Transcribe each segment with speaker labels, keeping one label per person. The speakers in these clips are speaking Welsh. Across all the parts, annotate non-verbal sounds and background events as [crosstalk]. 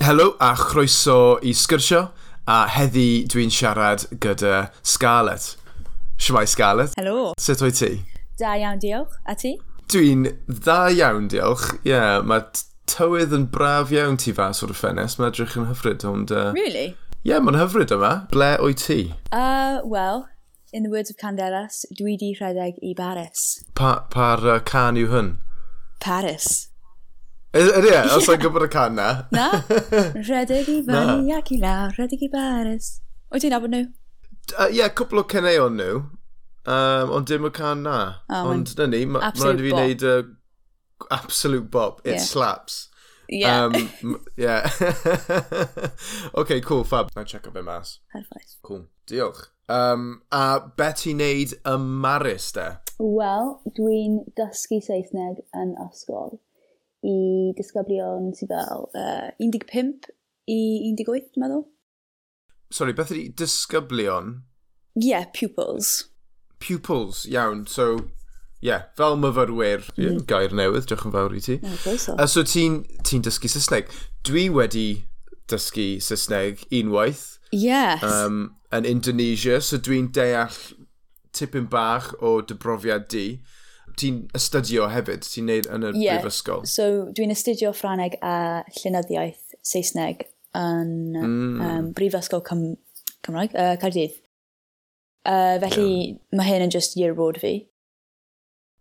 Speaker 1: Helo a chroeso i sgyrsio a heddi dwi'n siarad gyda Scarlett. Siwmai Scarlett,
Speaker 2: Helo.
Speaker 1: sut o'i ti?
Speaker 2: Da iawn, diolch. A ti?
Speaker 1: Dwi'n dda iawn, diolch. Ie, yeah, mae t- tywydd yn braf iawn tu fas o'r ffenest. Mae edrych yn hyfryd, ond... Ie, uh...
Speaker 2: Really?
Speaker 1: yeah, mae'n hyfryd yma. Ble o'i ti?
Speaker 2: Uh, well, in the words of Candelas, dwi di rhedeg i Baris.
Speaker 1: Pa, pa'r uh, can yw hwn?
Speaker 2: Paris.
Speaker 1: Ydy, ie,
Speaker 2: [laughs]
Speaker 1: os o'n gwybod y can na.
Speaker 2: Na? [laughs] rhedeg i fyny ac i lawr, rhedeg i Baris. Wyt ti'n nabod nhw?
Speaker 1: Uh, Ie, cwpl o caneuon nhw, um, ond dim y can na.
Speaker 2: O, mae'n
Speaker 1: ond na ni, ma- mae'n
Speaker 2: absolute
Speaker 1: rhaid i fi wneud
Speaker 2: bop.
Speaker 1: uh, absolute bop. It
Speaker 2: Ie.
Speaker 1: slaps.
Speaker 2: Ie.
Speaker 1: Um, m- yeah. [laughs] okay, cool, fab. Na check up mas.
Speaker 2: Perffaith.
Speaker 1: Cool. Diolch. Um, a bet ti'n neud y Maris, de?
Speaker 2: Wel, dwi'n dysgu Saesneg yn ysgol i disgyblion sydd fel uh, 15 i 18, dwi'n meddwl.
Speaker 1: Sorry, beth ydi disgyblion?
Speaker 2: Yeah, pupils.
Speaker 1: Pupils, iawn. So, yeah, fel myfyrwyr, yeah, gair newydd, diolch yn fawr i ti.
Speaker 2: Oh, groeso.
Speaker 1: A so ti'n ti dysgu Saesneg. Dwi wedi dysgu Saesneg unwaith
Speaker 2: yes.
Speaker 1: um, yn Indonesia, so dwi'n deall tipyn bach o dybrofiad di. Ti'n astudio hefyd, ti'n neud yn y
Speaker 2: Ie.
Speaker 1: yeah. brifysgol.
Speaker 2: So dwi'n astudio Ffraneg a Llynyddiaeth Saesneg yn mm. um, Brifysgol Cym Cymraeg, uh, Cardydd. Uh, felly yeah. mae hyn yn just year abroad fi.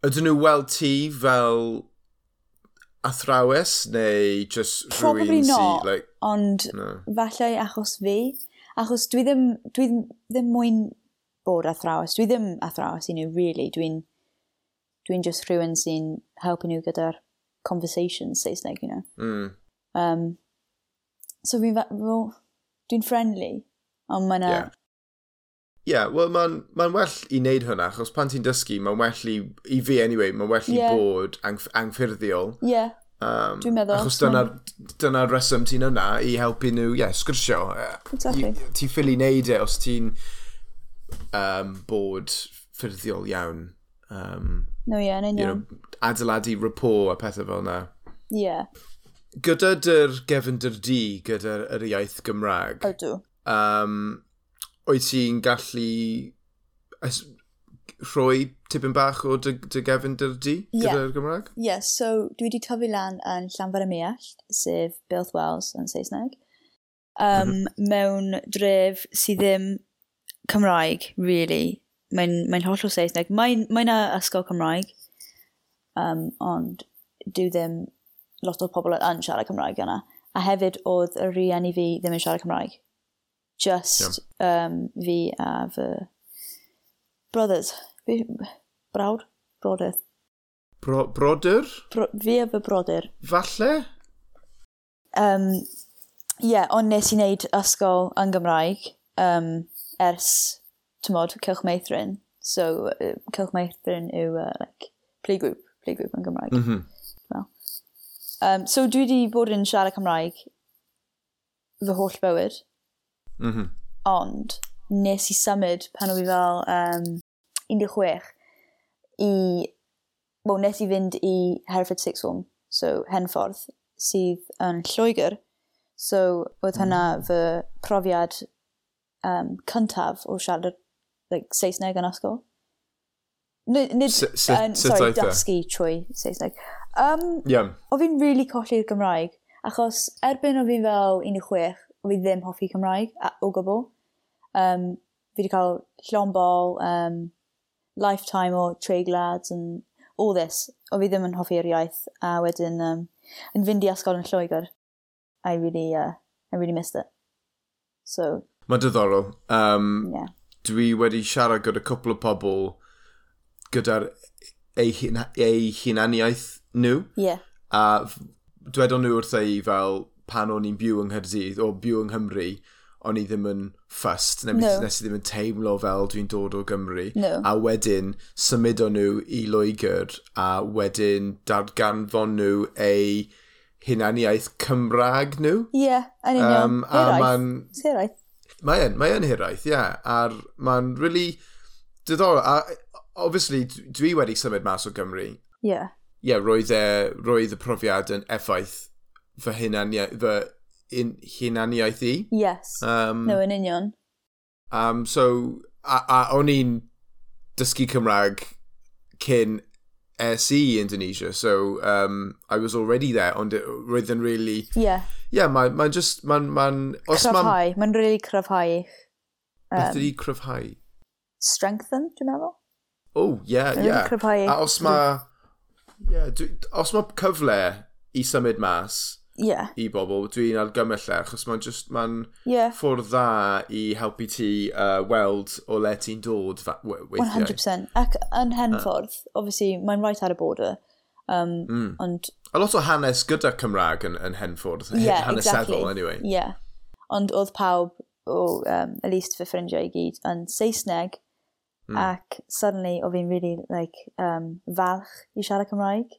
Speaker 1: Ydyn nhw weld ti fel athrawes neu just
Speaker 2: Probably
Speaker 1: rhywun sy...
Speaker 2: not,
Speaker 1: Like,
Speaker 2: ond
Speaker 1: no.
Speaker 2: falle achos fi, achos dwi ddim, dwi ddim- ddim mwyn bod athrawes, dwi ddim athrawes i nhw, really, dwi'n dwi'n just rhywun sy'n helpu nhw gyda'r conversation Saesneg, you know.
Speaker 1: Mm.
Speaker 2: Um, so fi'n fa- wel, dwi'n friendly, ond mae
Speaker 1: Yeah.
Speaker 2: yna,
Speaker 1: yeah, wel mae'n ma well i wneud hwnna, achos pan ti'n dysgu, mae'n well i, i fi anyway, mae'n well i
Speaker 2: Ie.
Speaker 1: bod angf angffurfiol.
Speaker 2: ie, yeah,
Speaker 1: Um,
Speaker 2: Dwi'n meddwl,
Speaker 1: Achos
Speaker 2: ma'n-
Speaker 1: dyna'r dyna reswm ti'n yna i helpu nhw, ie, yeah, sgwrsio. Yy,
Speaker 2: Exactly.
Speaker 1: i- Ti'n ffili wneud e os ti'n um, bod ffurfiol iawn. Um,
Speaker 2: no ie, yn
Speaker 1: you
Speaker 2: union,
Speaker 1: know, adeiladu rapport a pethau fel yna.
Speaker 2: ie,
Speaker 1: Gyda dy'r gefnder di gyda'r yr iaith Gymraeg,
Speaker 2: ydw.
Speaker 1: um, wyt ti'n gallu es- rhoi tipyn bach o dy, dy gefnder di
Speaker 2: Ie.
Speaker 1: gyda'r Gymraeg?
Speaker 2: Ie, yeah, so dwi wedi tyfu lan yn Llanfair y Meallt, sef Bilth Wells yn Saesneg, um, mewn dref sydd ddim Cymraeg, really. Mae'n mae holl o Saesneg. Mae'n mae na ysgol Cymraeg, um, ond dwi ddim lot o pobl yn siarad Cymraeg yna. A hefyd oedd y rieni fi ddim yn siarad Cymraeg. Just um, fi a fy brothers. Fi, brawd? Brodyr.
Speaker 1: Bro, brodyr?
Speaker 2: Bro, fi a fy brodyr.
Speaker 1: Falle?
Speaker 2: Um, Ie, yeah, ond nes i wneud ysgol yn Gymraeg um, ers, tymod, Cylch Meithrin. So, uh, Cylch Meithrin yw, uh, like, playgroup, playgroup yn Gymraeg. Mm -hmm. well. um, so, dwi wedi bod yn siarad Cymraeg fy holl bywyd.
Speaker 1: Mm-hmm.
Speaker 2: Mm -hmm. Ond, nes i symud pan o'n i fel um, 16 i well, nes i fynd i Hereford Sixth Form, so Henffordd, sydd yn Lloegr. So, oedd
Speaker 1: Mm.
Speaker 2: hwnna fy profiad um, cyntaf o siarad like, Saesneg yn ysgol. Nid, nid
Speaker 1: S- sut-
Speaker 2: yn-
Speaker 1: sut
Speaker 2: sorry,
Speaker 1: oedd e?
Speaker 2: dysgu trwy Saesneg. Um,
Speaker 1: Iawn.
Speaker 2: o fi'n really colli'r Gymraeg, achos erbyn o fi'n fel 16, o fi ddim hoffi Cymraeg a- o gwbl. Um, fi wedi cael llombol, um, lifetime o treiglads and all this. O fi ddim yn hoffi'r iaith, a wedyn um, yn fynd i asgol yn Lloegr. I really, uh, I really missed it. So,
Speaker 1: Mae'n diddorol. Um,
Speaker 2: yeah.
Speaker 1: dwi wedi siarad gyda cwpl o pobl gyda'r eu, hun, eu hunaniaeth nhw
Speaker 2: Yeah.
Speaker 1: a f- dwedon nhw wrtha i fel pan o'n i'n byw yng Nghyrdydd o byw yng Nghymru o'n i ddim yn ffust neu
Speaker 2: No.
Speaker 1: nes i ddim yn teimlo fel dwi'n dod o Gymru
Speaker 2: No.
Speaker 1: a wedyn symudon nhw i Loegr a wedyn darganfon nhw eu hunaniaeth Cymraeg nhw
Speaker 2: Yeah, yn union.
Speaker 1: Um,
Speaker 2: Um,
Speaker 1: a ma'n-
Speaker 2: Heraeth. Heraeth.
Speaker 1: Mae e'n, mae e'n hiraeth, ie. Yeah. A'r, mae'n really diddorol. A, obviously, d- dwi wedi symud mas o Gymru. Ie,
Speaker 2: Yeah.
Speaker 1: yeah, roedd, e, roedd y profiad yn effaith fy hunan, fy un, hunaniaeth i.
Speaker 2: Yes.
Speaker 1: Um,
Speaker 2: no, yn union.
Speaker 1: Um, so, a, a o'n i'n dysgu Cymraeg cyn SE Indonesia, so um, I was already there, ond yy, roedd yn really...
Speaker 2: Yeah.
Speaker 1: Yeah, mae'n ma just... Mae'n... Ma os mae'n...
Speaker 2: Cryfhau. Mae'n rili really cryfhau eich
Speaker 1: Beth ydi cryfhau?
Speaker 2: strengthen, dwi'n meddwl.
Speaker 1: Oh, yeah,
Speaker 2: Yn
Speaker 1: yeah.
Speaker 2: cryfhau.
Speaker 1: A os mae... Yeah, dwi, os mae cyfle i symud mas
Speaker 2: Yeah.
Speaker 1: i bobl, dwi'n argymell e, achos mae'n just, mae'n
Speaker 2: Yeah.
Speaker 1: ffordd dda i helpu ti uh, weld o le ti'n dod fa- we- weithiau.
Speaker 2: 100%. Ac yn Henffordd, obviously, mae'n right ar y border. Um,
Speaker 1: Hmm.
Speaker 2: Ond,
Speaker 1: A lot o hanes gyda Cymraeg yn, yn Henffordd,
Speaker 2: yeah,
Speaker 1: [laughs] hanesyddol,
Speaker 2: exactly.
Speaker 1: anyway.
Speaker 2: Yeah. Ond oedd pawb, o, um, at least fy ffrindiau i gyd, yn Saesneg.
Speaker 1: Hmm.
Speaker 2: Ac suddenly, o fi'n really, like, um, falch i siarad Cymraeg.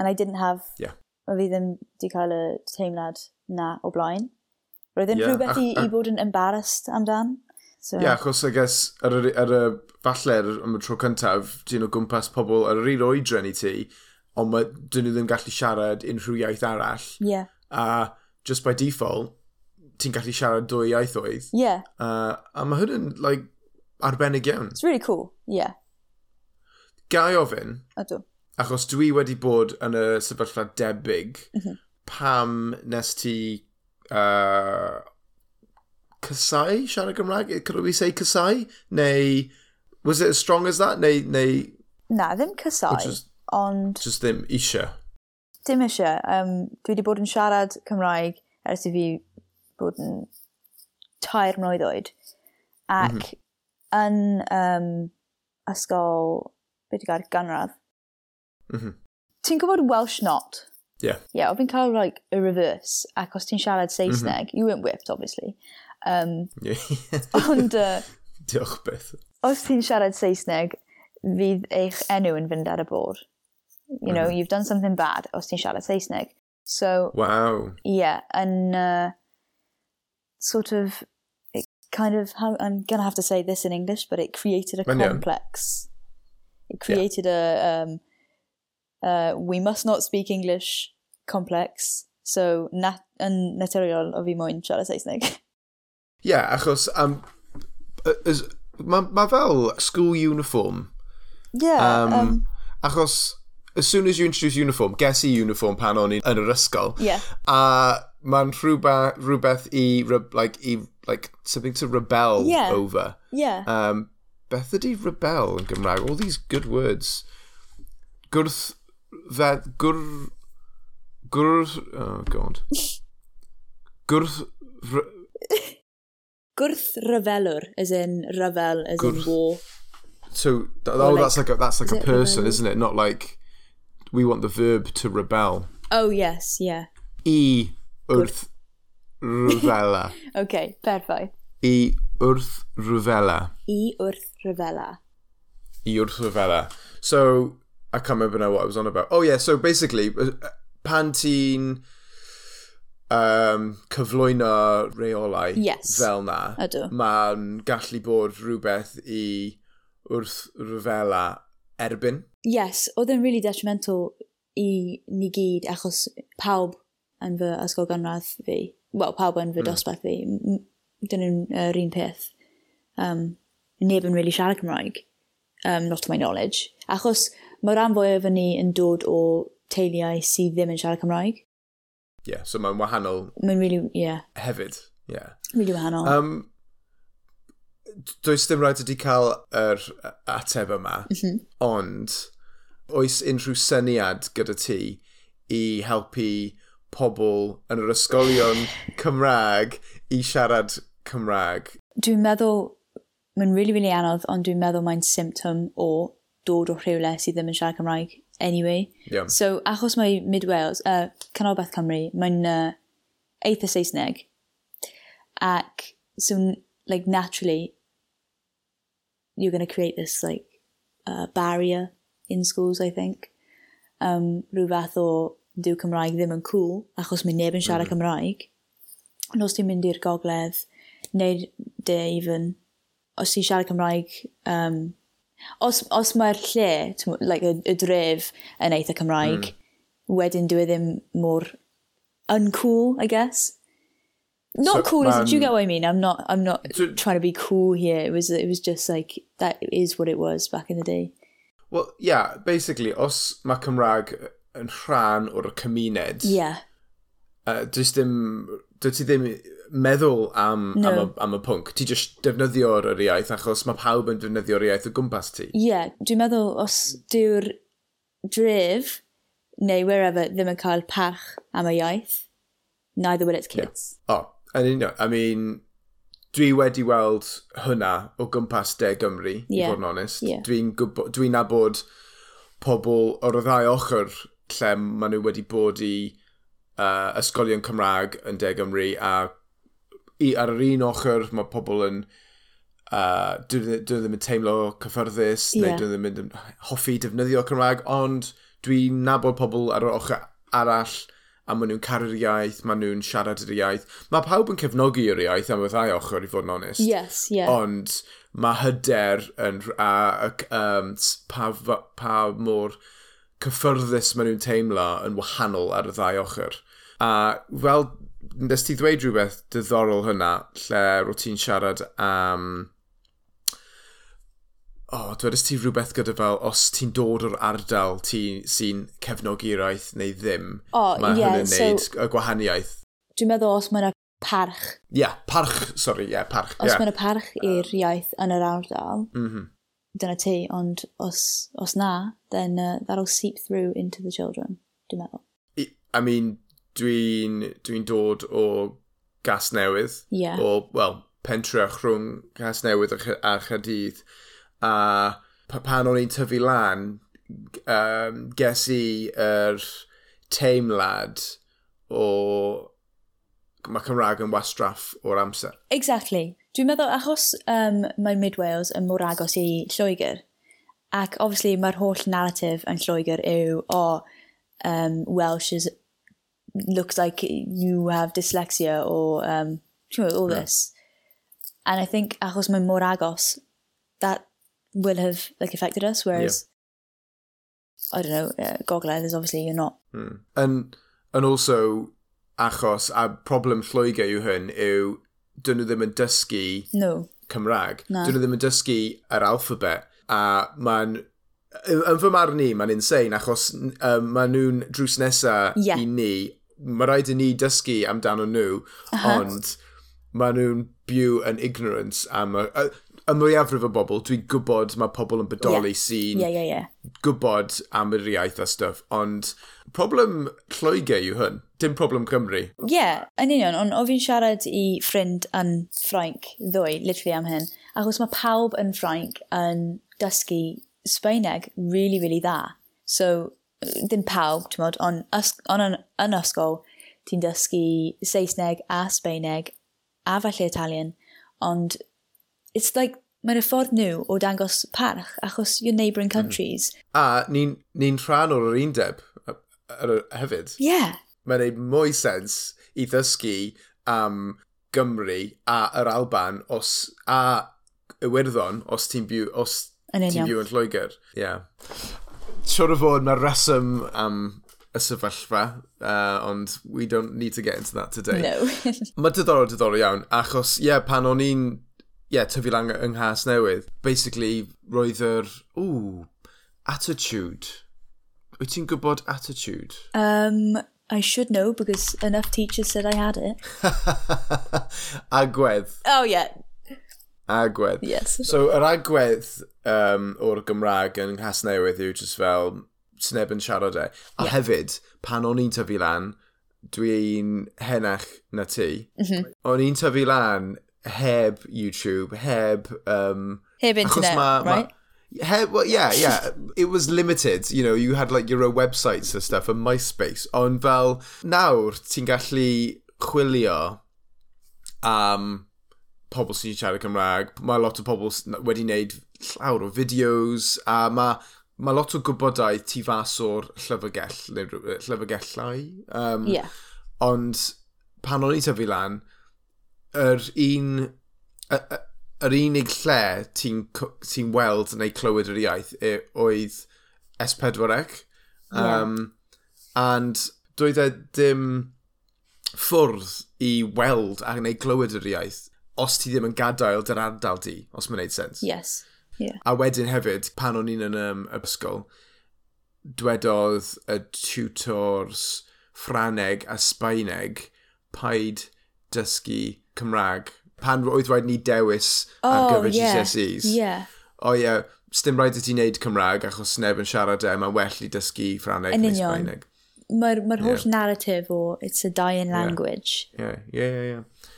Speaker 2: And I didn't have,
Speaker 1: Yeah.
Speaker 2: o fi ddim di cael y teimlad na o blaen. Roedd yn
Speaker 1: Yeah,
Speaker 2: rhywbeth i,
Speaker 1: ac-
Speaker 2: i bod yn embarrassed amdan. So,
Speaker 1: Ie, yeah, achos I guess, ar y, ar y, falle ar- am y tro cyntaf, ti'n o gwmpas pobl ar yr un oedren i ti, ond mae dyn nhw ddim gallu siarad unrhyw iaith arall,
Speaker 2: yeah.
Speaker 1: a just by default, ti'n gallu siarad dwy iaithoedd.
Speaker 2: Yeah,
Speaker 1: Uh, a mae hwn yn, like, arbennig iawn.
Speaker 2: it's really cool. Yeah,
Speaker 1: Gai ofyn,
Speaker 2: ydw.
Speaker 1: achos dwi wedi bod yn y sefyllfa debyg, pam nes ti uh, casau siarad Gymraeg? Could we say casau? Neu, was it as strong as that? Neu, neu
Speaker 2: Na, ddim
Speaker 1: Which
Speaker 2: cysau,
Speaker 1: is-
Speaker 2: ond
Speaker 1: just ddim eisiau?
Speaker 2: dim eisiau. Um, dwi wedi bod yn siarad Cymraeg ers i fi bod yn tair mlynedd oed. Ac
Speaker 1: Mhm.
Speaker 2: yn um, ysgol, beth i gael, ganradd.
Speaker 1: Mhm.
Speaker 2: Ti'n gwybod Welsh not?
Speaker 1: Yeah.
Speaker 2: Ie, yeah, oedd fi'n cael like, y reverse, ac os ti'n siarad
Speaker 1: Mhm.
Speaker 2: Saesneg, you weren't whipped, obviously. Um, [laughs]
Speaker 1: [laughs]
Speaker 2: ond uh,
Speaker 1: [laughs] Diolch beth.
Speaker 2: os ti'n siarad Saesneg, fydd eich enw yn fynd ar y bord. You know,
Speaker 1: Mhm.
Speaker 2: you've done something bad os ti'n siarad Saesneg. So,
Speaker 1: Wow.
Speaker 2: yeah, and uh, sort of, it kind of, how, I'm going to have to say this in English, but it created a
Speaker 1: Mae'n iawn.
Speaker 2: complex. It
Speaker 1: Yeah.
Speaker 2: created a, um, uh, we must not speak English complex. So, nat yn naturiol o fi moyn siarad Saesneg. [laughs]
Speaker 1: Ie, yeah, achos um, mae ma fel school uniform.
Speaker 2: yeah,
Speaker 1: Um,
Speaker 2: um,
Speaker 1: achos, as soon as you introduce uniform, ges i uniform pan o'n i yn yr ysgol.
Speaker 2: Ie.
Speaker 1: A mae'n rhywbeth, rhywbeth i, re- like, i, like, something to rebel
Speaker 2: Ie.
Speaker 1: over.
Speaker 2: yeah.
Speaker 1: Um, beth ydi rebel yn Gymraeg? All these good words. Gwrth, fe, gwr, gwr, oh god.
Speaker 2: [laughs]
Speaker 1: Gwrth, r-
Speaker 2: Gwrth ryfelwr, as in ryfel, as
Speaker 1: Gwrth-
Speaker 2: in war.
Speaker 1: so, oh,
Speaker 2: like-
Speaker 1: that's like a, that's like a
Speaker 2: it
Speaker 1: person,
Speaker 2: rebel?
Speaker 1: isn't it? Not like, we want the verb to rebel. E
Speaker 2: Oh, yes, yeah.
Speaker 1: i wrth rhyfela.
Speaker 2: Okay, perffaith.
Speaker 1: I wrth rhyfela.
Speaker 2: I wrth ryfela.
Speaker 1: I wrth rhyfela. E So, I can't remember now what I was on about. Oh yeah, so basically, uh, pan ti'n um, cyflwyno reolau
Speaker 2: Yes.
Speaker 1: fel na,
Speaker 2: Ydw.
Speaker 1: mae'n gallu bod rhywbeth i wrth rhyfela erbyn.
Speaker 2: Yes, oedd yn really detrimental i ni gyd achos pawb yn fy ysgol ganradd fi, wel, pawb yn fy dosbarth fi, m- m- dyn nhw'n yr un peth. Um, neb yn really siarad Cymraeg, um, not to my knowledge. Achos mae rhan fwy o fy ni yn dod o teuluau sydd ddim yn siarad Cymraeg.
Speaker 1: Yeah, so mae'n wahanol
Speaker 2: Mae'n really, yeah,
Speaker 1: hefyd. Yeah.
Speaker 2: really wahanol.
Speaker 1: Um, d- does dim rhaid ydi cael yr ateb yma, ond oes unrhyw syniad gyda ti i helpu pobl yn yr ysgolion Cymraeg i siarad Cymraeg?
Speaker 2: Dwi'n meddwl, mae'n really, really anodd, ond dwi'n meddwl mae'n symptom o dod o rhywle sydd ddim yn siarad Cymraeg anyway.
Speaker 1: Yeah.
Speaker 2: So, achos mae Mid Wales, uh, Canolbeth Cymru, mae'n uh, eitha Saesneg, ac so, n- like, naturally, you're going to create this, like, uh, barrier in schools, I think. Um, rhyw fath o dyw Cymraeg ddim yn cool, achos mae neb yn siarad Cymraeg. Ond os ti'n mynd i'r gogledd, neu de even, os ti'n siarad Cymraeg um, os, os mae'r lle, t'mo', like, y, y dref
Speaker 1: Hmm.
Speaker 2: yn eitha Cymraeg, wedyn dwi ddim mor e uncool, I guess. Not
Speaker 1: So,
Speaker 2: cool, is it? Do you
Speaker 1: man-
Speaker 2: get what I mean? I'm not. I'm not
Speaker 1: So-
Speaker 2: trying to be cool here. It was. It was just like that is what it was back in the day.
Speaker 1: Well, yeah, basically, os mae Cymraeg yn rhan o'r cymuned,
Speaker 2: Yeah.
Speaker 1: uh, does dim, dwi ti ddim meddwl am, am, y,
Speaker 2: No.
Speaker 1: am y pwnc. Ti jyst defnyddio'r yr iaith, achos mae pawb yn defnyddio'r iaith o gwmpas ti.
Speaker 2: Yeah. Dwi'n meddwl os dyw'r dref neu wherever ddim yn cael parch am y iaith, neither will its kids.
Speaker 1: O, yn union. I mean, dwi wedi weld hwnna o gwmpas De Gymru,
Speaker 2: Ie.
Speaker 1: i fod yn honest.
Speaker 2: Ie.
Speaker 1: Dwi'n gwbo- dwi'n nabod pobl o'r ddau ochr lle maen nhw wedi bod i uh, ysgolion Cymraeg yn De Gymru a i, ar yr un ochr mae pobl yn uh, dwi, dwi ddim yn teimlo cyffyrddus neu
Speaker 2: Ie.
Speaker 1: dwi ddim yn hoffi defnyddio Cymraeg ond dwi'n nabod pobl ar yr ochr arall a maen nhw'n caru'r iaith, maen nhw'n siarad yr iaith. Mae pawb yn cefnogi yr iaith am y ddau ochr i fod yn onest
Speaker 2: Yes. Yeah.
Speaker 1: ond mae hyder yn rh- a, ac um, s- pa, f- pa mor cyffyrddus maen nhw'n teimlo yn wahanol ar y ddau ochr. A fel, nes ti ddweud rhywbeth diddorol hynna, lle rwy ti'n siarad am... O, oh, dwedais ti rhywbeth gyda fel, os ti'n dod o'r ardal ti sy'n cefnogi'r iaith neu ddim,
Speaker 2: O,
Speaker 1: mae
Speaker 2: ie,
Speaker 1: hynny'n
Speaker 2: so-
Speaker 1: neud y gwahaniaeth.
Speaker 2: Dwi'n meddwl os mae yna parch,
Speaker 1: Ie, yeah, parch, sori, ie, yeah, parch.
Speaker 2: os
Speaker 1: ie.
Speaker 2: mae yna parch i'r iaith yn yr ardal,
Speaker 1: Mhm.
Speaker 2: dyna ti, ond os, os na, then uh, that'll seep through into the children, dwi'n meddwl.
Speaker 1: I I mean, dwi'n dwi dod o gas newydd.
Speaker 2: Ie.
Speaker 1: O, wel, pentrech rhwng gas newydd a, Ch- a chadydd. A pa- pan o'n i'n tyfu lan, g- um, ges i yr teimlad o... Mae Cymraeg yn wastraff o'r amser.
Speaker 2: Exactly. Dwi'n meddwl achos um, mae Mid Wales yn mor agos i Lloegr, ac obviously mae'r holl narrative yn Lloegr yw, o, um, Welsh is, looks like you have dyslexia or um, you know, all this. And I think achos mae mor agos, that will have like affected us, whereas, I don't know, uh, Gogledd is obviously you're not.
Speaker 1: And, and also, achos, a problem Lloegr yw hyn, yw dyn nhw ddim yn dysgu
Speaker 2: No.
Speaker 1: Cymraeg.
Speaker 2: Na.
Speaker 1: Dyn nhw ddim yn dysgu yr alphabet. A mae'n... Yn yn fy marn i, mae'n insane, achos um, maen nhw'n drws nesaf
Speaker 2: Ie.
Speaker 1: i ni. Mae rhaid i ni dysgu amdano nhw, ond maen nhw'n byw yn ignorance am y... y- Y mwyafrif o bobl, dwi'n gwybod mae pobl yn bodoli sy'n
Speaker 2: Yeah, yeah, yeah.
Speaker 1: gwybod am yr iaith a stuff, ond problem Lloegr yw hwn, dim problem Cymru.
Speaker 2: Yeah, yn union, ond o fi'n siarad i ffrind yn Ffrainc ddoe, literally am hyn, achos mae pawb yn Ffrainc yn dysgu Sbaeneg really, really dda. So, ddim pawb, ti'n modd, ond ys- ond yn- yn ysgol, ti'n dysgu Saesneg a Sbaeneg a falle Italian, ond it's like, mae'n y ffordd nhw o dangos parch, achos your neighbouring countries.
Speaker 1: A ni'n ni rhan o'r undeb y- y- hefyd.
Speaker 2: Yeah,
Speaker 1: mae'n neud mwy sens i ddysgu am Gymru a yr Alban os a Iwerddon os ti'n byw os
Speaker 2: Yn
Speaker 1: ti'n
Speaker 2: union.
Speaker 1: byw yn Lloegr. Ie. Yeah. Siwr o fod mae reswm am y sefyllfa, uh, ond we don't need to get into that today.
Speaker 2: no. [laughs]
Speaker 1: Mae diddorol diddorol iawn, achos, ie, yeah, pan o'n i'n, ie, yeah, tyfu lang yng Nghas Newydd, basically, roedd yr, ww, attitude. Wyt ti'n gwybod attitude?
Speaker 2: um, I should know, because enough teachers said I had it.
Speaker 1: [laughs] agwedd,
Speaker 2: Oh, yeah,
Speaker 1: agwedd.
Speaker 2: Yes.
Speaker 1: So, yr agwedd um, o'r Gymraeg yn Nghas Newydd yw just fel, sneb yn siarad e. A hefyd, pan o'n i'n tyfu lan, dwi'n henach na ti. O'n i'n tyfu lan heb YouTube, heb... Um,
Speaker 2: Heb internet, right?
Speaker 1: Ma, heb, well, yeah, yeah. It was limited, you know, you had like your own websites and stuff, and MySpace. Ond fel, nawr, ti'n gallu chwilio am pobl sy'n siarad Cymraeg. Mae lot o pobl s- wedi wneud llawer o fideos, a mae ma lot o gwybodaeth tu fas o'r llyfrgell, neu rhyw- llyfrgellau. Um,
Speaker 2: Yeah.
Speaker 1: Ond pan o'n i tyfu lan, yr un... y- y- Yr unig lle ti'n co- ti'n weld neu clywed yr iaith e- oedd S4C. Um, And doedd e dim ffwrdd i weld a gwneud glywed yr iaith os ti ddim yn gadael dy'r ardal di, os mae'n neud sens.
Speaker 2: Yes. Yeah.
Speaker 1: A wedyn hefyd, pan o'n i'n yn um, yr ysgol, dwedodd y tutors Ffraneg a Sbaeneg paid dysgu Cymraeg. Pan oedd rhaid ni dewis ar
Speaker 2: Oh,
Speaker 1: gyfer
Speaker 2: yeah.
Speaker 1: GCSEs.
Speaker 2: Yeah.
Speaker 1: O ie, sdim rhaid i ti wneud Cymraeg achos neb yn siarad e, mae'n well i dysgu Ffraneg
Speaker 2: Yn
Speaker 1: neu
Speaker 2: union.
Speaker 1: Sbaeneg.
Speaker 2: Mae'r ma holl
Speaker 1: Yeah.
Speaker 2: narrative o it's a dying language.
Speaker 1: Ie, ie, ie, ie.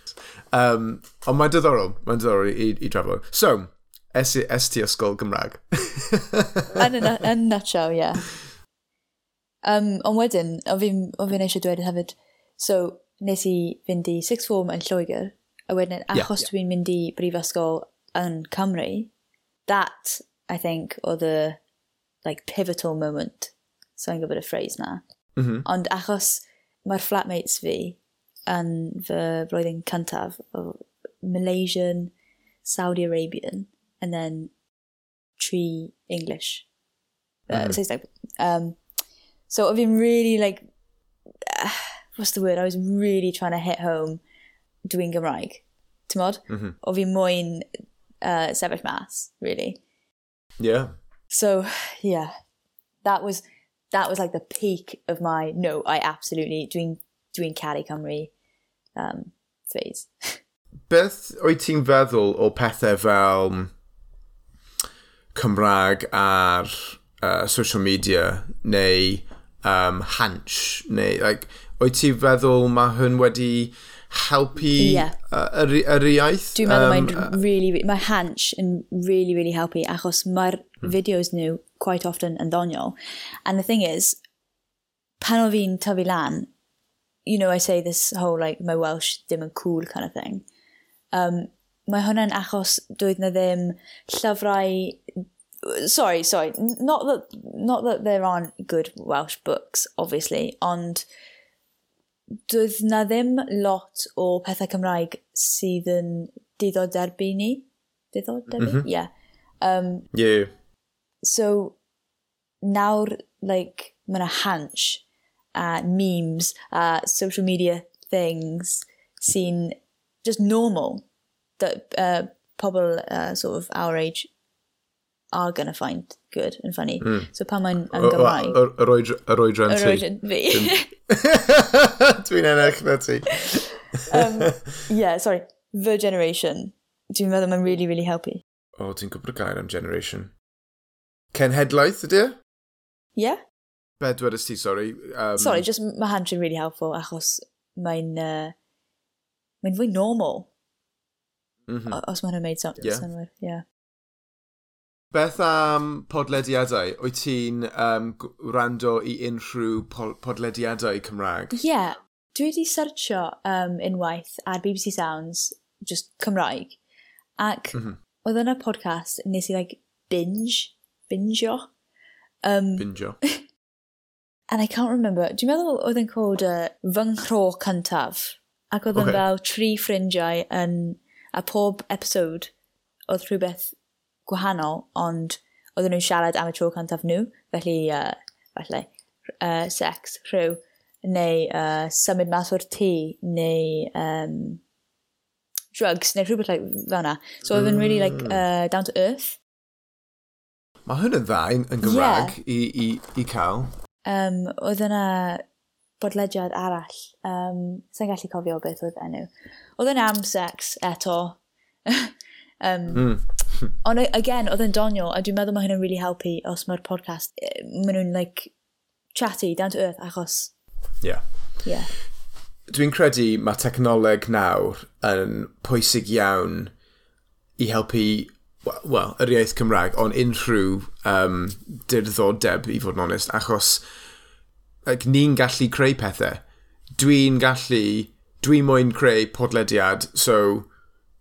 Speaker 1: Um, ond mae'n diddorol, mae'n diddorol i, i drafod. So, es, i- es ti ysgol Gymraeg.
Speaker 2: Yn y nu- yn nutshell, yeah. Um, ond wedyn, o fi'n o fi'n eisiau dweud hefyd, so nes i fynd i sixth form yn Lloegr, a wedyn achos yeah, dwi'n mynd i brifysgol yn Cymru, that, I think, oedd y like, pivotal moment. So I'm gwybod y phrase na.
Speaker 1: [laughs] Mhm.
Speaker 2: Ond achos mae'r flatmates fi yn fy blwyddyn cyntaf o Malaysian, Saudi Arabian, and then tree English. Uh, Saesneg. Um, so I've been really like, [sighs] what's the word? I was really trying to hit home doing Gymraeg. T'mod? Mm-hmm. O fi moyn uh, sefyll mas, really.
Speaker 1: yeah.
Speaker 2: So yeah, that was that was like the peak of my no, I absolutely doing doing Caddy Cymru um, phase.
Speaker 1: Beth oed ti'n feddwl o pethau fel mm, Cymraeg ar uh, social media neu um, hansh neu like, oed ti'n feddwl mae hwn wedi helpu
Speaker 2: Ie.
Speaker 1: uh, yr, yr iaith?
Speaker 2: Dwi'n meddwl mae'n really, really, mae Hanch yn really, really helpu achos mae'r videos nhw quite often yn ddoniol. And the thing is, pan o fi'n tyfu lan, you know, I say this whole, like, my Welsh dim yn cool kind of thing. Um, mae hwnna'n achos doedd na ddim llyfrau... Sorry, sorry. n- Not that, not that there aren't good Welsh books, obviously, ond doedd na ddim lot o pethau Cymraeg sydd yn diddod derbyn ni. Diddod derbyn? Yeah.
Speaker 1: Yeah.
Speaker 2: So, nawr, like, mae yna hunch a memes a social media things sy'n just normal that uh, pobl uh, sort of our age are going to find good and funny. So pan mae'n yn Gymraeg,
Speaker 1: Yr oedran
Speaker 2: yr
Speaker 1: ti.
Speaker 2: oedran fi.
Speaker 1: Dwi'n [laughs] ennill na ti.
Speaker 2: Um,
Speaker 1: [laughs]
Speaker 2: yeah, sorry, the generation. Dwi'n meddwl mae'n really, really helpu.
Speaker 1: O, ti'n gwybod gair am generation. Cenhedlaeth ydy e?
Speaker 2: Yeah?
Speaker 1: Bedwar ys ti, sorry. Um,
Speaker 2: Sorry, just mae hand yn really helpful achos mae'n uh, mae'n fwy normal
Speaker 1: mhm.
Speaker 2: o- os mae hwnna'n made sense.
Speaker 1: Yeah.
Speaker 2: Yeah. yeah.
Speaker 1: Beth am podlediadau? Wyt ti'n um, g- rando i unrhyw pol- podlediadau Cymraeg?
Speaker 2: Yeah, dwi wedi searcho um, unwaith ar BBC Sounds, just Cymraeg, ac
Speaker 1: Mm-hmm.
Speaker 2: oedd yna podcast nes i like binge, bingeio, um,
Speaker 1: Binjo.
Speaker 2: and I can't remember, dwi'n meddwl oedd yn called uh, Fy Nghro Cyntaf, ac oedd yn
Speaker 1: Okay.
Speaker 2: fel tri ffrindiau yn, a pob episode oedd rhywbeth gwahanol, ond oedden nhw'n siarad am y tro cyntaf nhw, felly, uh, falle, uh, sex, rhyw, neu uh, symud mas o'r tŷ, neu um, drugs, neu rhywbeth like, fel yna. So oedd yn really like, uh, down to earth.
Speaker 1: Mae hwn yn dda yn, yn Gymraeg i, i, i cael.
Speaker 2: Um, oedd yna bodlediad arall, um, sa'n gallu cofio beth oedd enw. Oedd yn am sex eto. [laughs] um, Ond a- again, oedd yn doniol, a dwi'n meddwl mae hyn yn really helpu os mae'r podcast, eh, maen nhw'n like, chatty, down to earth, achos,
Speaker 1: Yeah.
Speaker 2: yeah.
Speaker 1: Dwi'n credu mae technoleg nawr yn pwysig iawn i helpu, we- wel, yr iaith Cymraeg, ond unrhyw um, dirddodeb, i fod yn onest, achos like, ni'n gallu creu pethau. Dwi'n gallu, dwi moyn creu podlediad, so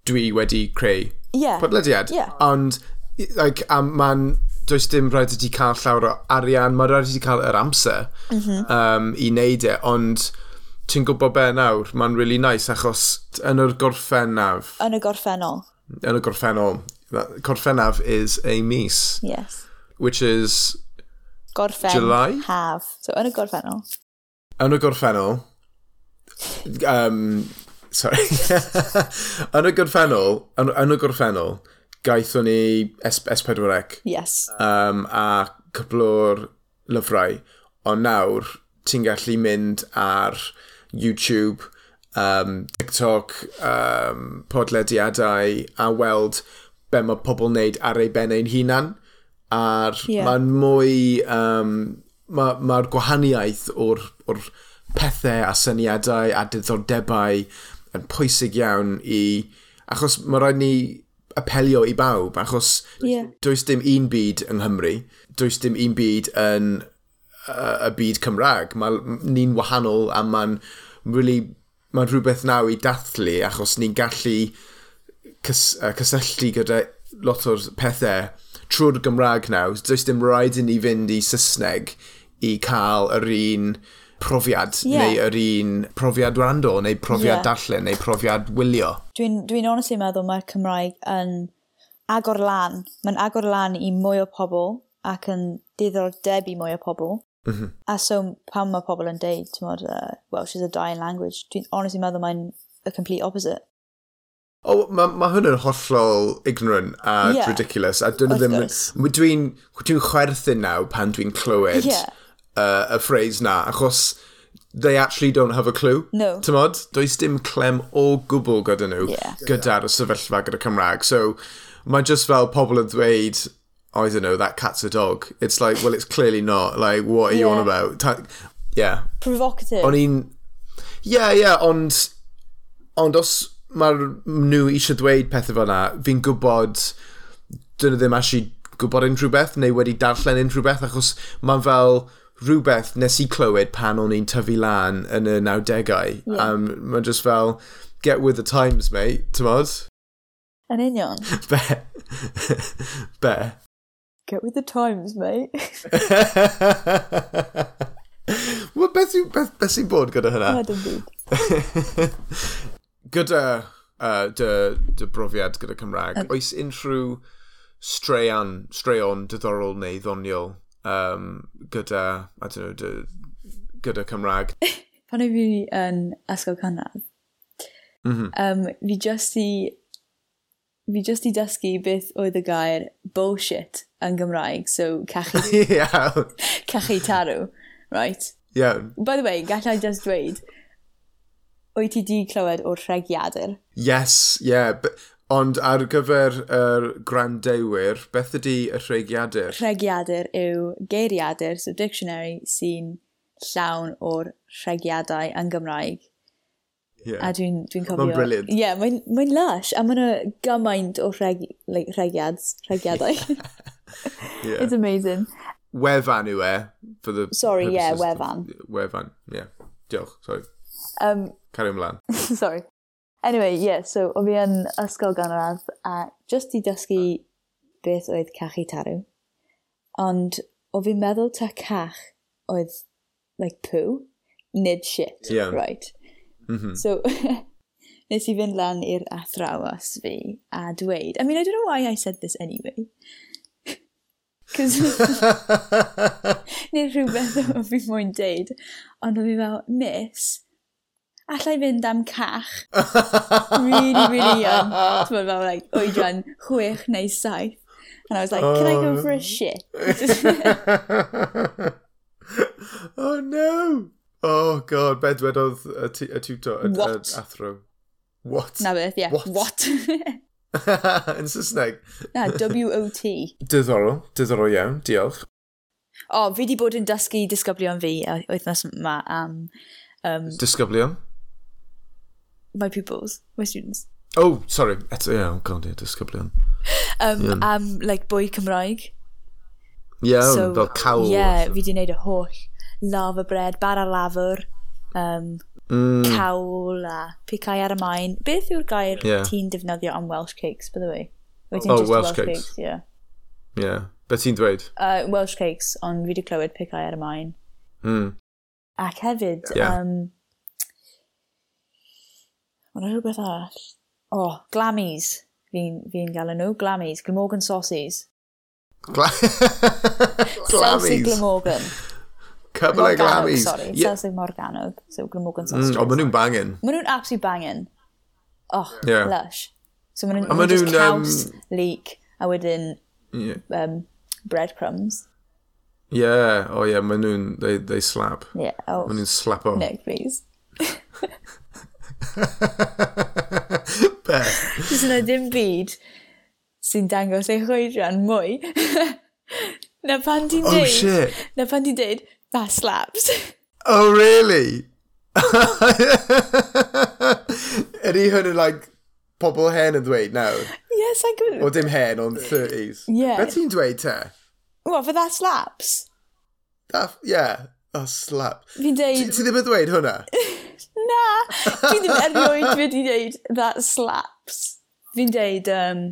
Speaker 1: dwi wedi creu
Speaker 2: Yeah.
Speaker 1: podlediad.
Speaker 2: Ie.
Speaker 1: Ond, i- like, a ma'n, does dim rhaid i ti cael llawer o arian, mae'n rhaid i ti cael yr amser um, i wneud e, ond ti'n gwybod be nawr, mae'n really nice, achos t- yn yr gorffennaf,
Speaker 2: Yn y gorffennol,
Speaker 1: yn y gorffennol, that- gorffennaf is a mis,
Speaker 2: yes.
Speaker 1: which is,
Speaker 2: Gorffen.
Speaker 1: July?
Speaker 2: Haf. So, yn y gorffennol.
Speaker 1: yn y gorffennol, Um, sorry. [laughs] yn y gorffennol, yn, yn y gorffennol, gaethon ni S, S4C
Speaker 2: Yes.
Speaker 1: um, a cwpl o'r lyfrau, ond nawr ti'n gallu mynd ar YouTube, um, TikTok, um, podlediadau a weld be mae pobl wneud ar ei ben ein hunan. A'r
Speaker 2: Ie.
Speaker 1: yeah. mae'n mwy, um, mae'r ma ma'r gwahaniaeth o'r, or pethau a syniadau a diddordebau yn pwysig iawn i, achos mae rhaid ni apelio i bawb, achos
Speaker 2: Ie.
Speaker 1: does dim un byd yng Nghymru, does dim un byd yn uh, y byd Cymraeg. Mae l- ni'n wahanol a mae'n really, mae'n rhywbeth naw i dathlu achos ni'n gallu cys, uh, cysylltu gyda lot o'r pethau trwy'r Gymraeg nawr. Does dim rhaid i ni fynd i Saesneg i cael yr un profiad
Speaker 2: Ie.
Speaker 1: neu yr un profiad rando neu profiad
Speaker 2: Ie.
Speaker 1: darllen neu profiad wylio.
Speaker 2: Dwi'n dwi honestly meddwl mae'r Cymraeg yn agor lan. Mae'n agor lan i mwy o pobl ac yn diddordeb i mwy o pobl. Mm -hmm. A so pan mae pobl yn deud, ti'n modd, uh, Welsh is a dying language, dwi'n honestly meddwl mae'n y complete opposite.
Speaker 1: O, mae ma hwn yn hollol ignorant a
Speaker 2: Ie.
Speaker 1: yeah. ridiculous. A dwi'n
Speaker 2: Wrth
Speaker 1: ddim...
Speaker 2: gwrs.
Speaker 1: Dwi'n dwi dwi chwerthin naw pan dwi'n clywed
Speaker 2: Ie.
Speaker 1: uh, y phrase na, achos they actually don't have a clue.
Speaker 2: No.
Speaker 1: Tymod, does dim clem o gwbl gyda nhw
Speaker 2: Ie.
Speaker 1: gyda'r sefyllfa gyda Cymraeg. So, mae just fel pobl yn dweud, "Oh, I don't know, that cat's a dog. It's like, well, it's clearly not. Like, what are you on
Speaker 2: Ie.
Speaker 1: about? Ta yeah,
Speaker 2: Provocative.
Speaker 1: o'n i'n... Ie, ie, ond... Ond os mae nhw eisiau dweud pethau fel yna, fi'n gwybod... Dyn nhw ddim actually gwybod unrhyw beth, neu wedi darllen unrhyw beth, achos mae'n fel rhywbeth nes i clywed pan o'n i'n tyfu lan yn y 90au.
Speaker 2: Ie.
Speaker 1: Um, mae'n just fel, get with the times, mate, t'mod? [laughs]
Speaker 2: Yn union.
Speaker 1: Be? Be?
Speaker 2: Get with the times, mate. [laughs]
Speaker 1: Wel, beth sy'n beth, beth sy bod gyda hynna?
Speaker 2: Na, dim byd.
Speaker 1: [laughs] gyda uh, dy, dy brofiad gyda Cymraeg, oes unrhyw straeon, straeon diddorol neu ddoniol um, gyda, I don't know, dy, gyda Cymraeg?
Speaker 2: [laughs] pan o fi yn ysgol cynradd, mm um, fi just i fi just i dysgu beth oedd y gair bullshit yn Gymraeg, so
Speaker 1: [laughs]
Speaker 2: cachu,
Speaker 1: Iawn,
Speaker 2: cachu tarw, right?
Speaker 1: iawn.
Speaker 2: By the way, gallai just dweud, wyt ti di clywed o'r rhegiadur?
Speaker 1: Yes, yeah, b- ond ar gyfer yr uh, grandewyr, beth ydy y rheigiadur?
Speaker 2: Rhegiadur yw geiriadur, so dictionary, sy'n llawn o'r rhegiadau yn Gymraeg. A
Speaker 1: Yeah.
Speaker 2: dwi'n dwi cofio...
Speaker 1: brilliant.
Speaker 2: Ie, yeah, mae'n mae lush. A mae'n yy, gymaint o reg, like, regiads, regiadau.
Speaker 1: [laughs] yeah.
Speaker 2: It's amazing.
Speaker 1: Wefan yw e, for the
Speaker 2: Sorry, yeah,
Speaker 1: purposes of-
Speaker 2: wefan.
Speaker 1: Wefan, yeah. Diolch, sorry.
Speaker 2: Um,
Speaker 1: Cario ymlaen.
Speaker 2: [laughs] sorry. Anyway, yeah, so o fi yn ysgol gynradd a just i dysgu beth oedd cachu tarw. Ond o fi'n meddwl ta cach oedd, like, poo, nid shit,
Speaker 1: Ie.
Speaker 2: right? So, [laughs] nes i fynd lan i'r athrawas fi a dweud, I mean, I don't know why I said this anyway. [laughs] Cos... [laughs] neu rhywbeth o fi moyn deud. Ond o fi fel, miss, allai fynd am cach. really, really young. Ti'n bod fel, like, oedran chwech neu saith. And I was like, can I go for a shit?
Speaker 1: [laughs] oh no! Oh god, bedwedodd y, tu- y tutor, y, y
Speaker 2: What?
Speaker 1: athro. What?
Speaker 2: Na beth, yeah.
Speaker 1: What?
Speaker 2: What?
Speaker 1: [laughs]
Speaker 2: [laughs]
Speaker 1: Yn Saesneg.
Speaker 2: Na, W-O-T.
Speaker 1: Diddorol, diddorol iawn, diolch.
Speaker 2: O, fi di bod yn dysgu disgyblion fi y wythnos yma am
Speaker 1: Disgyblion.
Speaker 2: my pupils, my students.
Speaker 1: Oh, sorry, eto, ie, oh god, ie, disgyblion.
Speaker 2: Um, Am, like, bwy Cymraeg.
Speaker 1: Iawn, Oh, fel cawl.
Speaker 2: Yeah, fi di wneud y holl lava bread, bar a lafr, um,
Speaker 1: Mm,
Speaker 2: cawl a picau ar y maen. Beth yw'r gair
Speaker 1: Ie.
Speaker 2: ti'n defnyddio am Welsh cakes, by the way? Wyt ti'n
Speaker 1: Oh,
Speaker 2: just
Speaker 1: Welsh cakes.
Speaker 2: yeah.
Speaker 1: Yeah. Be ti'n dweud?
Speaker 2: Uh, Welsh cakes, ond fi di clywed picau ar y maen.
Speaker 1: Mm.
Speaker 2: Ac hefyd,
Speaker 1: Ie.
Speaker 2: um, ond rhywbeth arall. O, oh, glammies. Fi'n fi gael nhw. Glammies. Glamorgan sauces.
Speaker 1: Gla- [laughs]
Speaker 2: Saucy
Speaker 1: Glammies.
Speaker 2: Glamorgan.
Speaker 1: Cyfle
Speaker 2: Morgannwg,
Speaker 1: glamis.
Speaker 2: sorry. It
Speaker 1: Ie.
Speaker 2: sounds like Morgannwg. So Glamorgan
Speaker 1: Mm,
Speaker 2: Sausage.
Speaker 1: Ond maen nhw'n banging.
Speaker 2: Maen nhw'n absolutely banging. Oh,
Speaker 1: Yeah.
Speaker 2: lush. So maen nhw'n
Speaker 1: A maen
Speaker 2: maen nhw'n
Speaker 1: nhw'n, um,
Speaker 2: caws, leek, a wedyn
Speaker 1: Ie,
Speaker 2: um, breadcrumbs.
Speaker 1: yeah. o oh, ie, yeah, maen nhw'n, they, they slap.
Speaker 2: Yeah, oh,
Speaker 1: Maen nhw'n slap o.
Speaker 2: Nick, please.
Speaker 1: [laughs] Be?
Speaker 2: Does yna dim byd sy'n dangos ei chwydran mwy. [laughs] na pan ti'n
Speaker 1: Oh,
Speaker 2: deud...
Speaker 1: shit.
Speaker 2: Na pan ti'n deud, that slaps. [laughs]
Speaker 1: Oh, really? [laughs] Ydy hwn yn, like, pobl hen yn dweud nawr?
Speaker 2: yes, I could.
Speaker 1: O dim hen, ond 30s.
Speaker 2: Ie.
Speaker 1: Be ti'n dweud te?
Speaker 2: What, for that slaps?
Speaker 1: Daff, yeah. Oh, slap. Ti
Speaker 2: Fi'n deud,
Speaker 1: ti ddim yn dweud hwnna?
Speaker 2: na, fi ddim erioed fi wedi deud that slaps. Fi'n deud, um,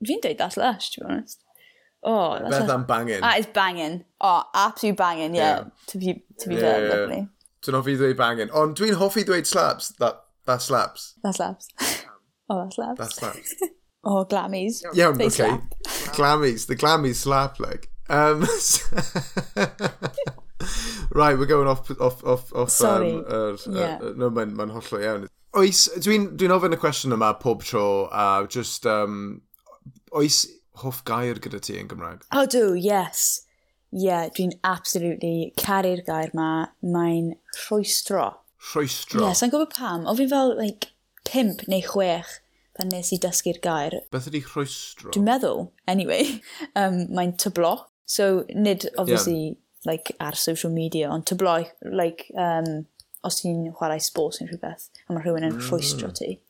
Speaker 2: fi'n deud that's lush, to be honest. Oh, that's
Speaker 1: Beth
Speaker 2: lush.
Speaker 1: am banging.
Speaker 2: That is banging. Oh, absolute banging, yeah.
Speaker 1: Yeah.
Speaker 2: To be, to be
Speaker 1: Yeah,
Speaker 2: fair,
Speaker 1: yeah, yeah.
Speaker 2: lovely.
Speaker 1: Dwi'n hoffi dweud banging. Ond dwi'n hoffi dweud slaps. That, that slaps.
Speaker 2: That slaps. [laughs] oh, that slaps.
Speaker 1: That slaps.
Speaker 2: Oh, glammies.
Speaker 1: Iawn,
Speaker 2: They
Speaker 1: okay.
Speaker 2: slap.
Speaker 1: Glammies, the glammies slap like. Um, [laughs] right, we're going off off off off.
Speaker 2: Sorry.
Speaker 1: Um, yr- yr-
Speaker 2: Yeah.
Speaker 1: yr- no, mae'n mae'n hollol iawn. Oes, dwi'n dwi'n ofyn y cwestiwn yma pob tro a uh, just um, oes hoff gair gyda ti yn Gymraeg?
Speaker 2: Oh, do, yes. Yeah, dwi'n absolutely caru'r gair ma. Mae'n rhwystro.
Speaker 1: Rhwystro.
Speaker 2: Yeah, sa'n gwybod pam. O fi'n fel, like, pimp neu chwech pan nes i dysgu'r gair.
Speaker 1: Beth ydi rhwystro?
Speaker 2: Dwi'n meddwl, anyway, [laughs] um, mae'n tyblo. So, nid, obviously, like, ar social media, ond tyblo, like, um, os ti'n chwarae sports neu rhywbeth, a mae rhywun yn rhwystro ti.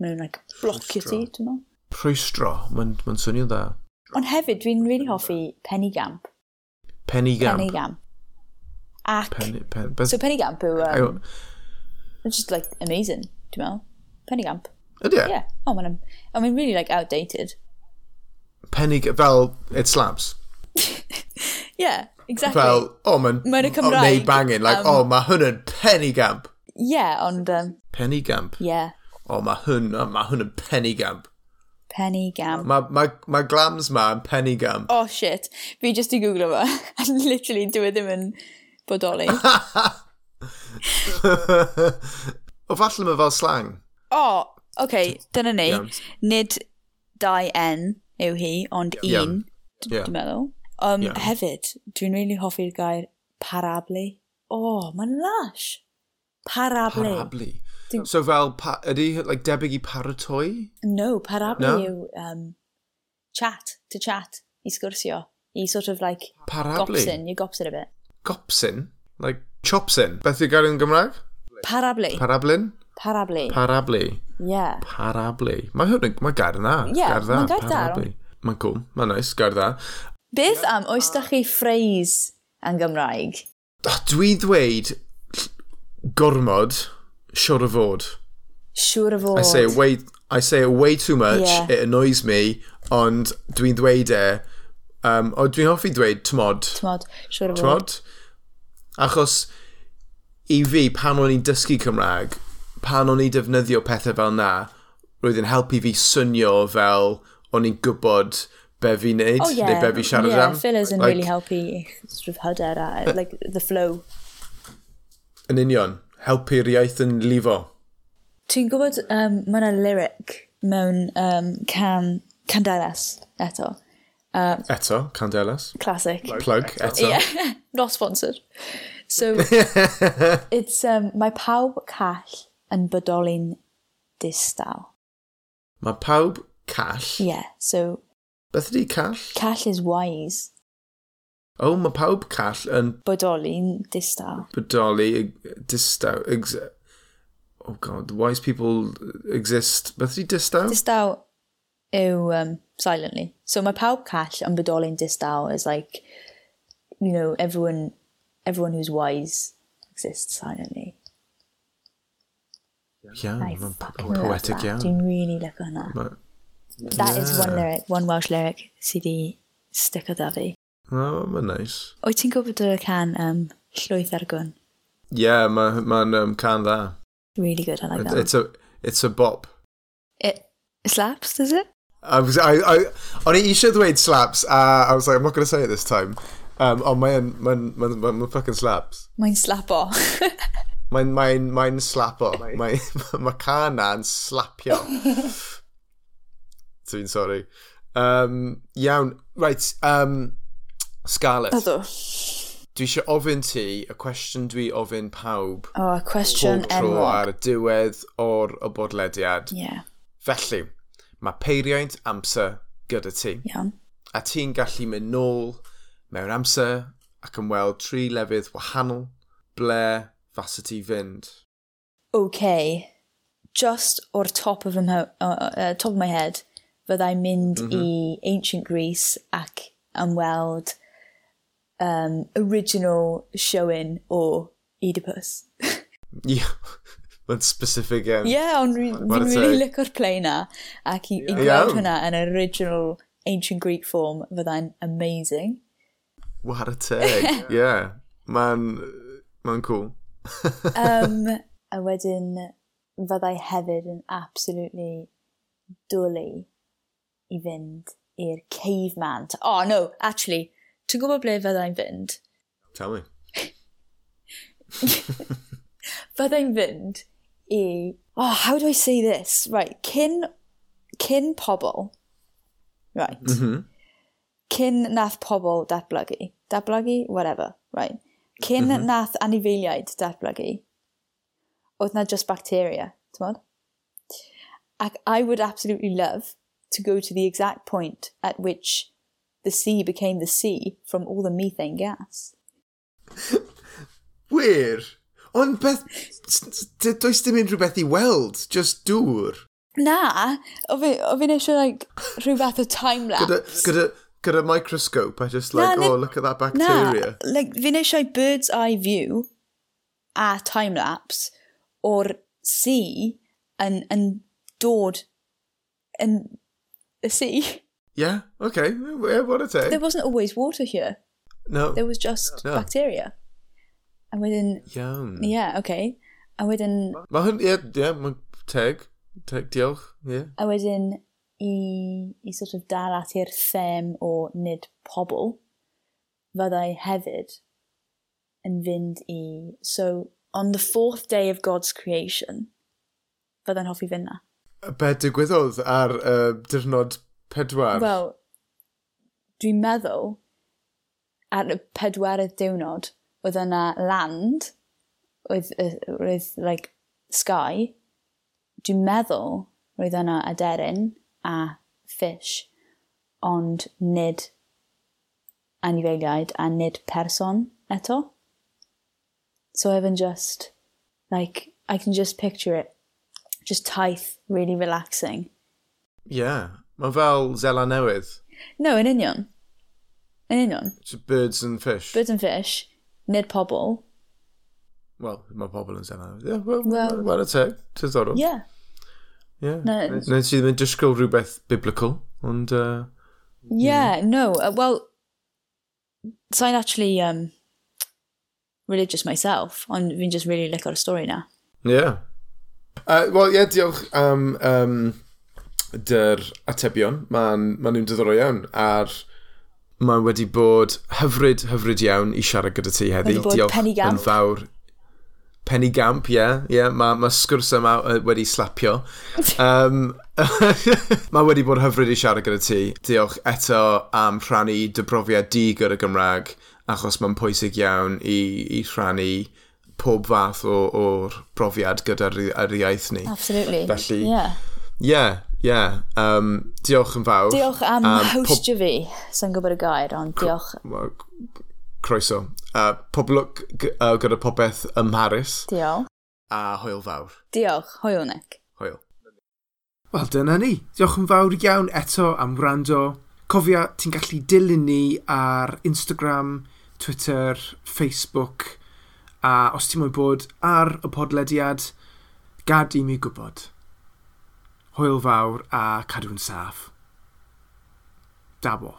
Speaker 2: Mae nhw'n, like, blocio ti,
Speaker 1: Mm. Rhwystro.
Speaker 2: ti'n meddwl?
Speaker 1: Rhwystro. Mae'n ma swnio dda.
Speaker 2: Ond hefyd, dwi'n really hoffi penigamp.
Speaker 1: Penigamp.
Speaker 2: Penigamp. Ac...
Speaker 1: Pen, pen, beth,
Speaker 2: So Penigamp yw...
Speaker 1: I,
Speaker 2: Um, it's just like amazing, dwi'n meddwl. Penigamp.
Speaker 1: ydy e?
Speaker 2: Yeah. Oh, man, I mean, really like outdated.
Speaker 1: Penig, fel, it slaps.
Speaker 2: Yeah, exactly.
Speaker 1: Fel, o, oh, mae'n...
Speaker 2: Mae'n y
Speaker 1: o, Neu
Speaker 2: Cymraeg,
Speaker 1: banging, like,
Speaker 2: um,
Speaker 1: o, oh, mae hwn yn penigamp.
Speaker 2: yeah, ond, um,
Speaker 1: Penigamp.
Speaker 2: yeah,
Speaker 1: O, mae hwn, o, mae hwn yn penigamp.
Speaker 2: Penigamp.
Speaker 1: Mae ma, ma glams ma yn penigamp.
Speaker 2: Oh, shit. Fi just i googlo [laughs] fe. And literally, dwi ddim yn
Speaker 1: [laughs]
Speaker 2: bodoli.
Speaker 1: [laughs] o, falle mae fel slang.
Speaker 2: Oh, okay, dyna ni.
Speaker 1: Iawn.
Speaker 2: Nid dau N yw hi, ond un,
Speaker 1: Iawn. Ie.
Speaker 2: dwi'n meddwl. Um,
Speaker 1: Iawn.
Speaker 2: Hefyd, dwi'n really hoffi'r gair parablu. Oh, mae'n lush. Parablu.
Speaker 1: Parablu. So fel, pa, ydy, like, debyg i paratoi?
Speaker 2: No, parablu
Speaker 1: No?
Speaker 2: yw um, chat, to chat, i sgwrsio, i sort of like
Speaker 1: Parablu?
Speaker 2: gopsin, you gopsin a bit.
Speaker 1: Gopsin? Like, chopsin? Beth yw gair yn Gymraeg?
Speaker 2: Parablu,
Speaker 1: Parablin?
Speaker 2: parablu,
Speaker 1: Parablu.
Speaker 2: yeah.
Speaker 1: Parablu. Mae hwn yn, mae gair yna.
Speaker 2: Ie, mae'n gair da.
Speaker 1: Mae'n cool, mae'n nice, gair dda.
Speaker 2: Beth am, oes da chi phrase yn Gymraeg?
Speaker 1: Ah, Dwi ddweud gormod, siwr o fod.
Speaker 2: Siwr o fod.
Speaker 1: I say it way I say it way too much.
Speaker 2: Yeah.
Speaker 1: It annoys me. Ond dwi'n dweud e. Um, o dwi'n hoffi dweud tmod.
Speaker 2: Tmod, siwr o fod.
Speaker 1: Tmod? Achos i fi, pan o'n i'n dysgu Cymraeg, pan o'n i defnyddio pethau fel na, roedd yn helpu fi swnio fel o'n i'n gwybod be fi'n neud,
Speaker 2: Oh yeah,
Speaker 1: neu be fi siarad
Speaker 2: yeah,
Speaker 1: am.
Speaker 2: fillers yn
Speaker 1: Like,
Speaker 2: really helpu i sort of hyder a like the flow.
Speaker 1: Yn union, helpu'r iaith yn lifo.
Speaker 2: Ti'n gwybod, um, mae yna lyric mewn um, can, Candelas eto.
Speaker 1: Eto, Candelas.
Speaker 2: Classic.
Speaker 1: Plug, eto.
Speaker 2: Yeah, not sponsored. So,
Speaker 1: [laughs]
Speaker 2: it's, um, mae pawb call yn bodolin distaw.
Speaker 1: Mae pawb call.
Speaker 2: Yeah, so
Speaker 1: Beth ydi call?
Speaker 2: call is wise,
Speaker 1: O, mae pawb call yn
Speaker 2: bodolin distaw.
Speaker 1: bodoli eg- distaw. Ex oh god, wise people exist. Beth ydi distaw?
Speaker 2: Distaw yw um, silently. So mae pawb call yn bodolin distaw is like, you know, everyone, everyone who's wise exists silently.
Speaker 1: Iawn,
Speaker 2: I
Speaker 1: Mm-hmm. mae'n po-
Speaker 2: fucking
Speaker 1: oh,
Speaker 2: love
Speaker 1: poetic
Speaker 2: that.
Speaker 1: iawn.
Speaker 2: Dwi'n really lygo hwnna.
Speaker 1: Ma-
Speaker 2: That is one
Speaker 1: Yeah.
Speaker 2: lyric, one Welsh lyric sydd i stick o da fi.
Speaker 1: O, mae'n Oh, nice.
Speaker 2: Wyt ti'n gwybod y can um, Llwyth ar Gwn?
Speaker 1: Ie, yeah, mae'n ma ma'n, um, can dda.
Speaker 2: Really good, I like
Speaker 1: It,
Speaker 2: that.
Speaker 1: it's, a, it's a bop.
Speaker 2: It slaps, does it?
Speaker 1: I was I I on i eisiau dweud slaps uh, I was like I'm not going to say it this time um, ond mae'n mae'n mae'n mae'n ma fucking slaps
Speaker 2: Mae'n slapo. [laughs]
Speaker 1: mae'n mae'n mae'n [laughs] slapo mae mae Kana yn slapio dwi'n sori um, iawn right um, Scarlett
Speaker 2: Ydw.
Speaker 1: dwi eisiau ofyn ti y cwestiwn dwi ofyn pawb
Speaker 2: O, oh, cwestiwn
Speaker 1: bob tro
Speaker 2: enwog.
Speaker 1: ar y diwedd o'r y bodlediad
Speaker 2: Ie, yeah,
Speaker 1: felly mae peiriant amser gyda ti
Speaker 2: iawn.
Speaker 1: a ti'n gallu mynd nôl mewn amser ac yn weld tri lefydd wahanol ble fasa ti fynd.
Speaker 2: okay, just or top of, 'ym mho- uh, uh, top of my head, fyddai mynd
Speaker 1: Mhm.
Speaker 2: i ancient Greece ac am weld um, original showing o Oedipus.
Speaker 1: Ie, [laughs] mae'n specific yn.
Speaker 2: Ie, yeah, ond rwy-
Speaker 1: Hmm. What a
Speaker 2: fi'n really
Speaker 1: take.
Speaker 2: licor play na, ac i, i
Speaker 1: Iawn.
Speaker 2: gweld hwnna yn yr original ancient Greek form fyddai'n amazing.
Speaker 1: What a teg.
Speaker 2: [laughs]
Speaker 1: Ie, mae'n mae'n cool.
Speaker 2: Um, a wedyn fyddai hefyd yn absolutely dwlu i fynd i'r caveman. T- Oh no, actually, ti'n gwybod ble fyddai'n fynd?
Speaker 1: Tell me.
Speaker 2: Fyddai'n fynd i... Oh, how do I say this? Right, cyn, cyn pobl. Right. Cyn nath pobl datblygu. Datblygu? Whatever. Right. Cyn nath anifeiliaid datblygu. Oedd na just bacteria, ti'n bod? Ac I would absolutely love to go to the exact point at which the sea became the sea from all the methane gas.
Speaker 1: Wir! Ond beth... s- s- d- Does dim unrhyw beth i weld, just dŵr.
Speaker 2: Na, o fi- o fi'n eisiau like, rhyw fath o time-lapse.
Speaker 1: Gyda, gyda, gyda microscope, I just like,
Speaker 2: Na, ne-
Speaker 1: oh, look at that
Speaker 2: Na,
Speaker 1: bacteria.
Speaker 2: like, fi'n eisiau bird's eye view a time-lapse o'r sea yn, yn dod yn y sea.
Speaker 1: Yeah, okay, yeah, what a
Speaker 2: There
Speaker 1: teg.
Speaker 2: wasn't always water here.
Speaker 1: No,
Speaker 2: There was just
Speaker 1: Yeah.
Speaker 2: bacteria. A wedyn,
Speaker 1: iawn.
Speaker 2: yeah, okay. A wedyn,
Speaker 1: Mae hwn, ie, ie, mae'n teg. Teg, diolch, ie.
Speaker 2: a wedyn i, i sort of dal at i'r them o nid pobl, fyddai hefyd yn fynd i... So, on the fourth day of God's creation, fyddai'n hoffi fynd na.
Speaker 1: Be digwyddodd ar uh, dirnod pedwar?
Speaker 2: Wel, dwi'n meddwl, ar y pedwerydd diwrnod, oedd yna land, oedd, yy, oedd like, sky. Dwi'n meddwl, roedd yna aderyn a fish, ond nid anifeiliaid a nid person eto. So I can just, like, I can just picture it. Just taith, really relaxing.
Speaker 1: Ie. Yeah. Mae fel Zela Newydd.
Speaker 2: No, yn union. Yn union.
Speaker 1: It's Birds and fish.
Speaker 2: Birds and fish, nid pobl.
Speaker 1: Wel, mae pobl yn Zela Newydd. Ie, wel,
Speaker 2: Wel-
Speaker 1: wel, y teg. Tyddorol.
Speaker 2: Yeah.
Speaker 1: Ie.
Speaker 2: Na-
Speaker 1: Nes i ddim yn disgwyl rhywbeth biblical, ond... Uh,
Speaker 2: Yeah, no. Uh, well, sa'n actually um, religious myself, ond fi'n just really lic o'r stori na.
Speaker 1: Yeah. Uh, Wel, ie, yeah, diolch am um, dy'r atebion. Mae'n ma nhw'n diddorol iawn. Ar mae wedi bod hyfryd, hyfryd iawn i siarad gyda ti heddi.
Speaker 2: Wedi bod penigamp.
Speaker 1: yn fawr. Penigamp, ie. Yeah, yeah, mae ma sgwrs yma yy, wedi slapio. Um, [laughs] mae wedi bod hyfryd i siarad gyda ti. Diolch eto am rhannu dy brofiad di gyda Gymraeg, achos mae'n pwysig iawn i, i rhannu pob fath o- o'r brofiad gyda'r yr iaith ni.
Speaker 2: Absolutely.
Speaker 1: Felly-
Speaker 2: Yeah.
Speaker 1: Ie, ie. Um, diolch yn fawr.
Speaker 2: Diolch am
Speaker 1: Um,
Speaker 2: um,
Speaker 1: pob-
Speaker 2: hostio fi. Sa'n gwybod y gair, ond diolch,
Speaker 1: Wel, Croeso. Uh, pob lwc gy- uh, gyda popeth ym Mharis
Speaker 2: diolch.
Speaker 1: a hwyl fawr.
Speaker 2: Diolch, hoiwnec.
Speaker 1: Hwyl. Wel, dyna ni. Diolch yn fawr iawn eto am wrando. Cofia, ti'n gallu dilyn ni ar Instagram, Twitter, Facebook, a os ti'n mwyn bod ar y podlediad, gad i mi gwybod. Hwyl fawr a cadw'n saff. Dabo.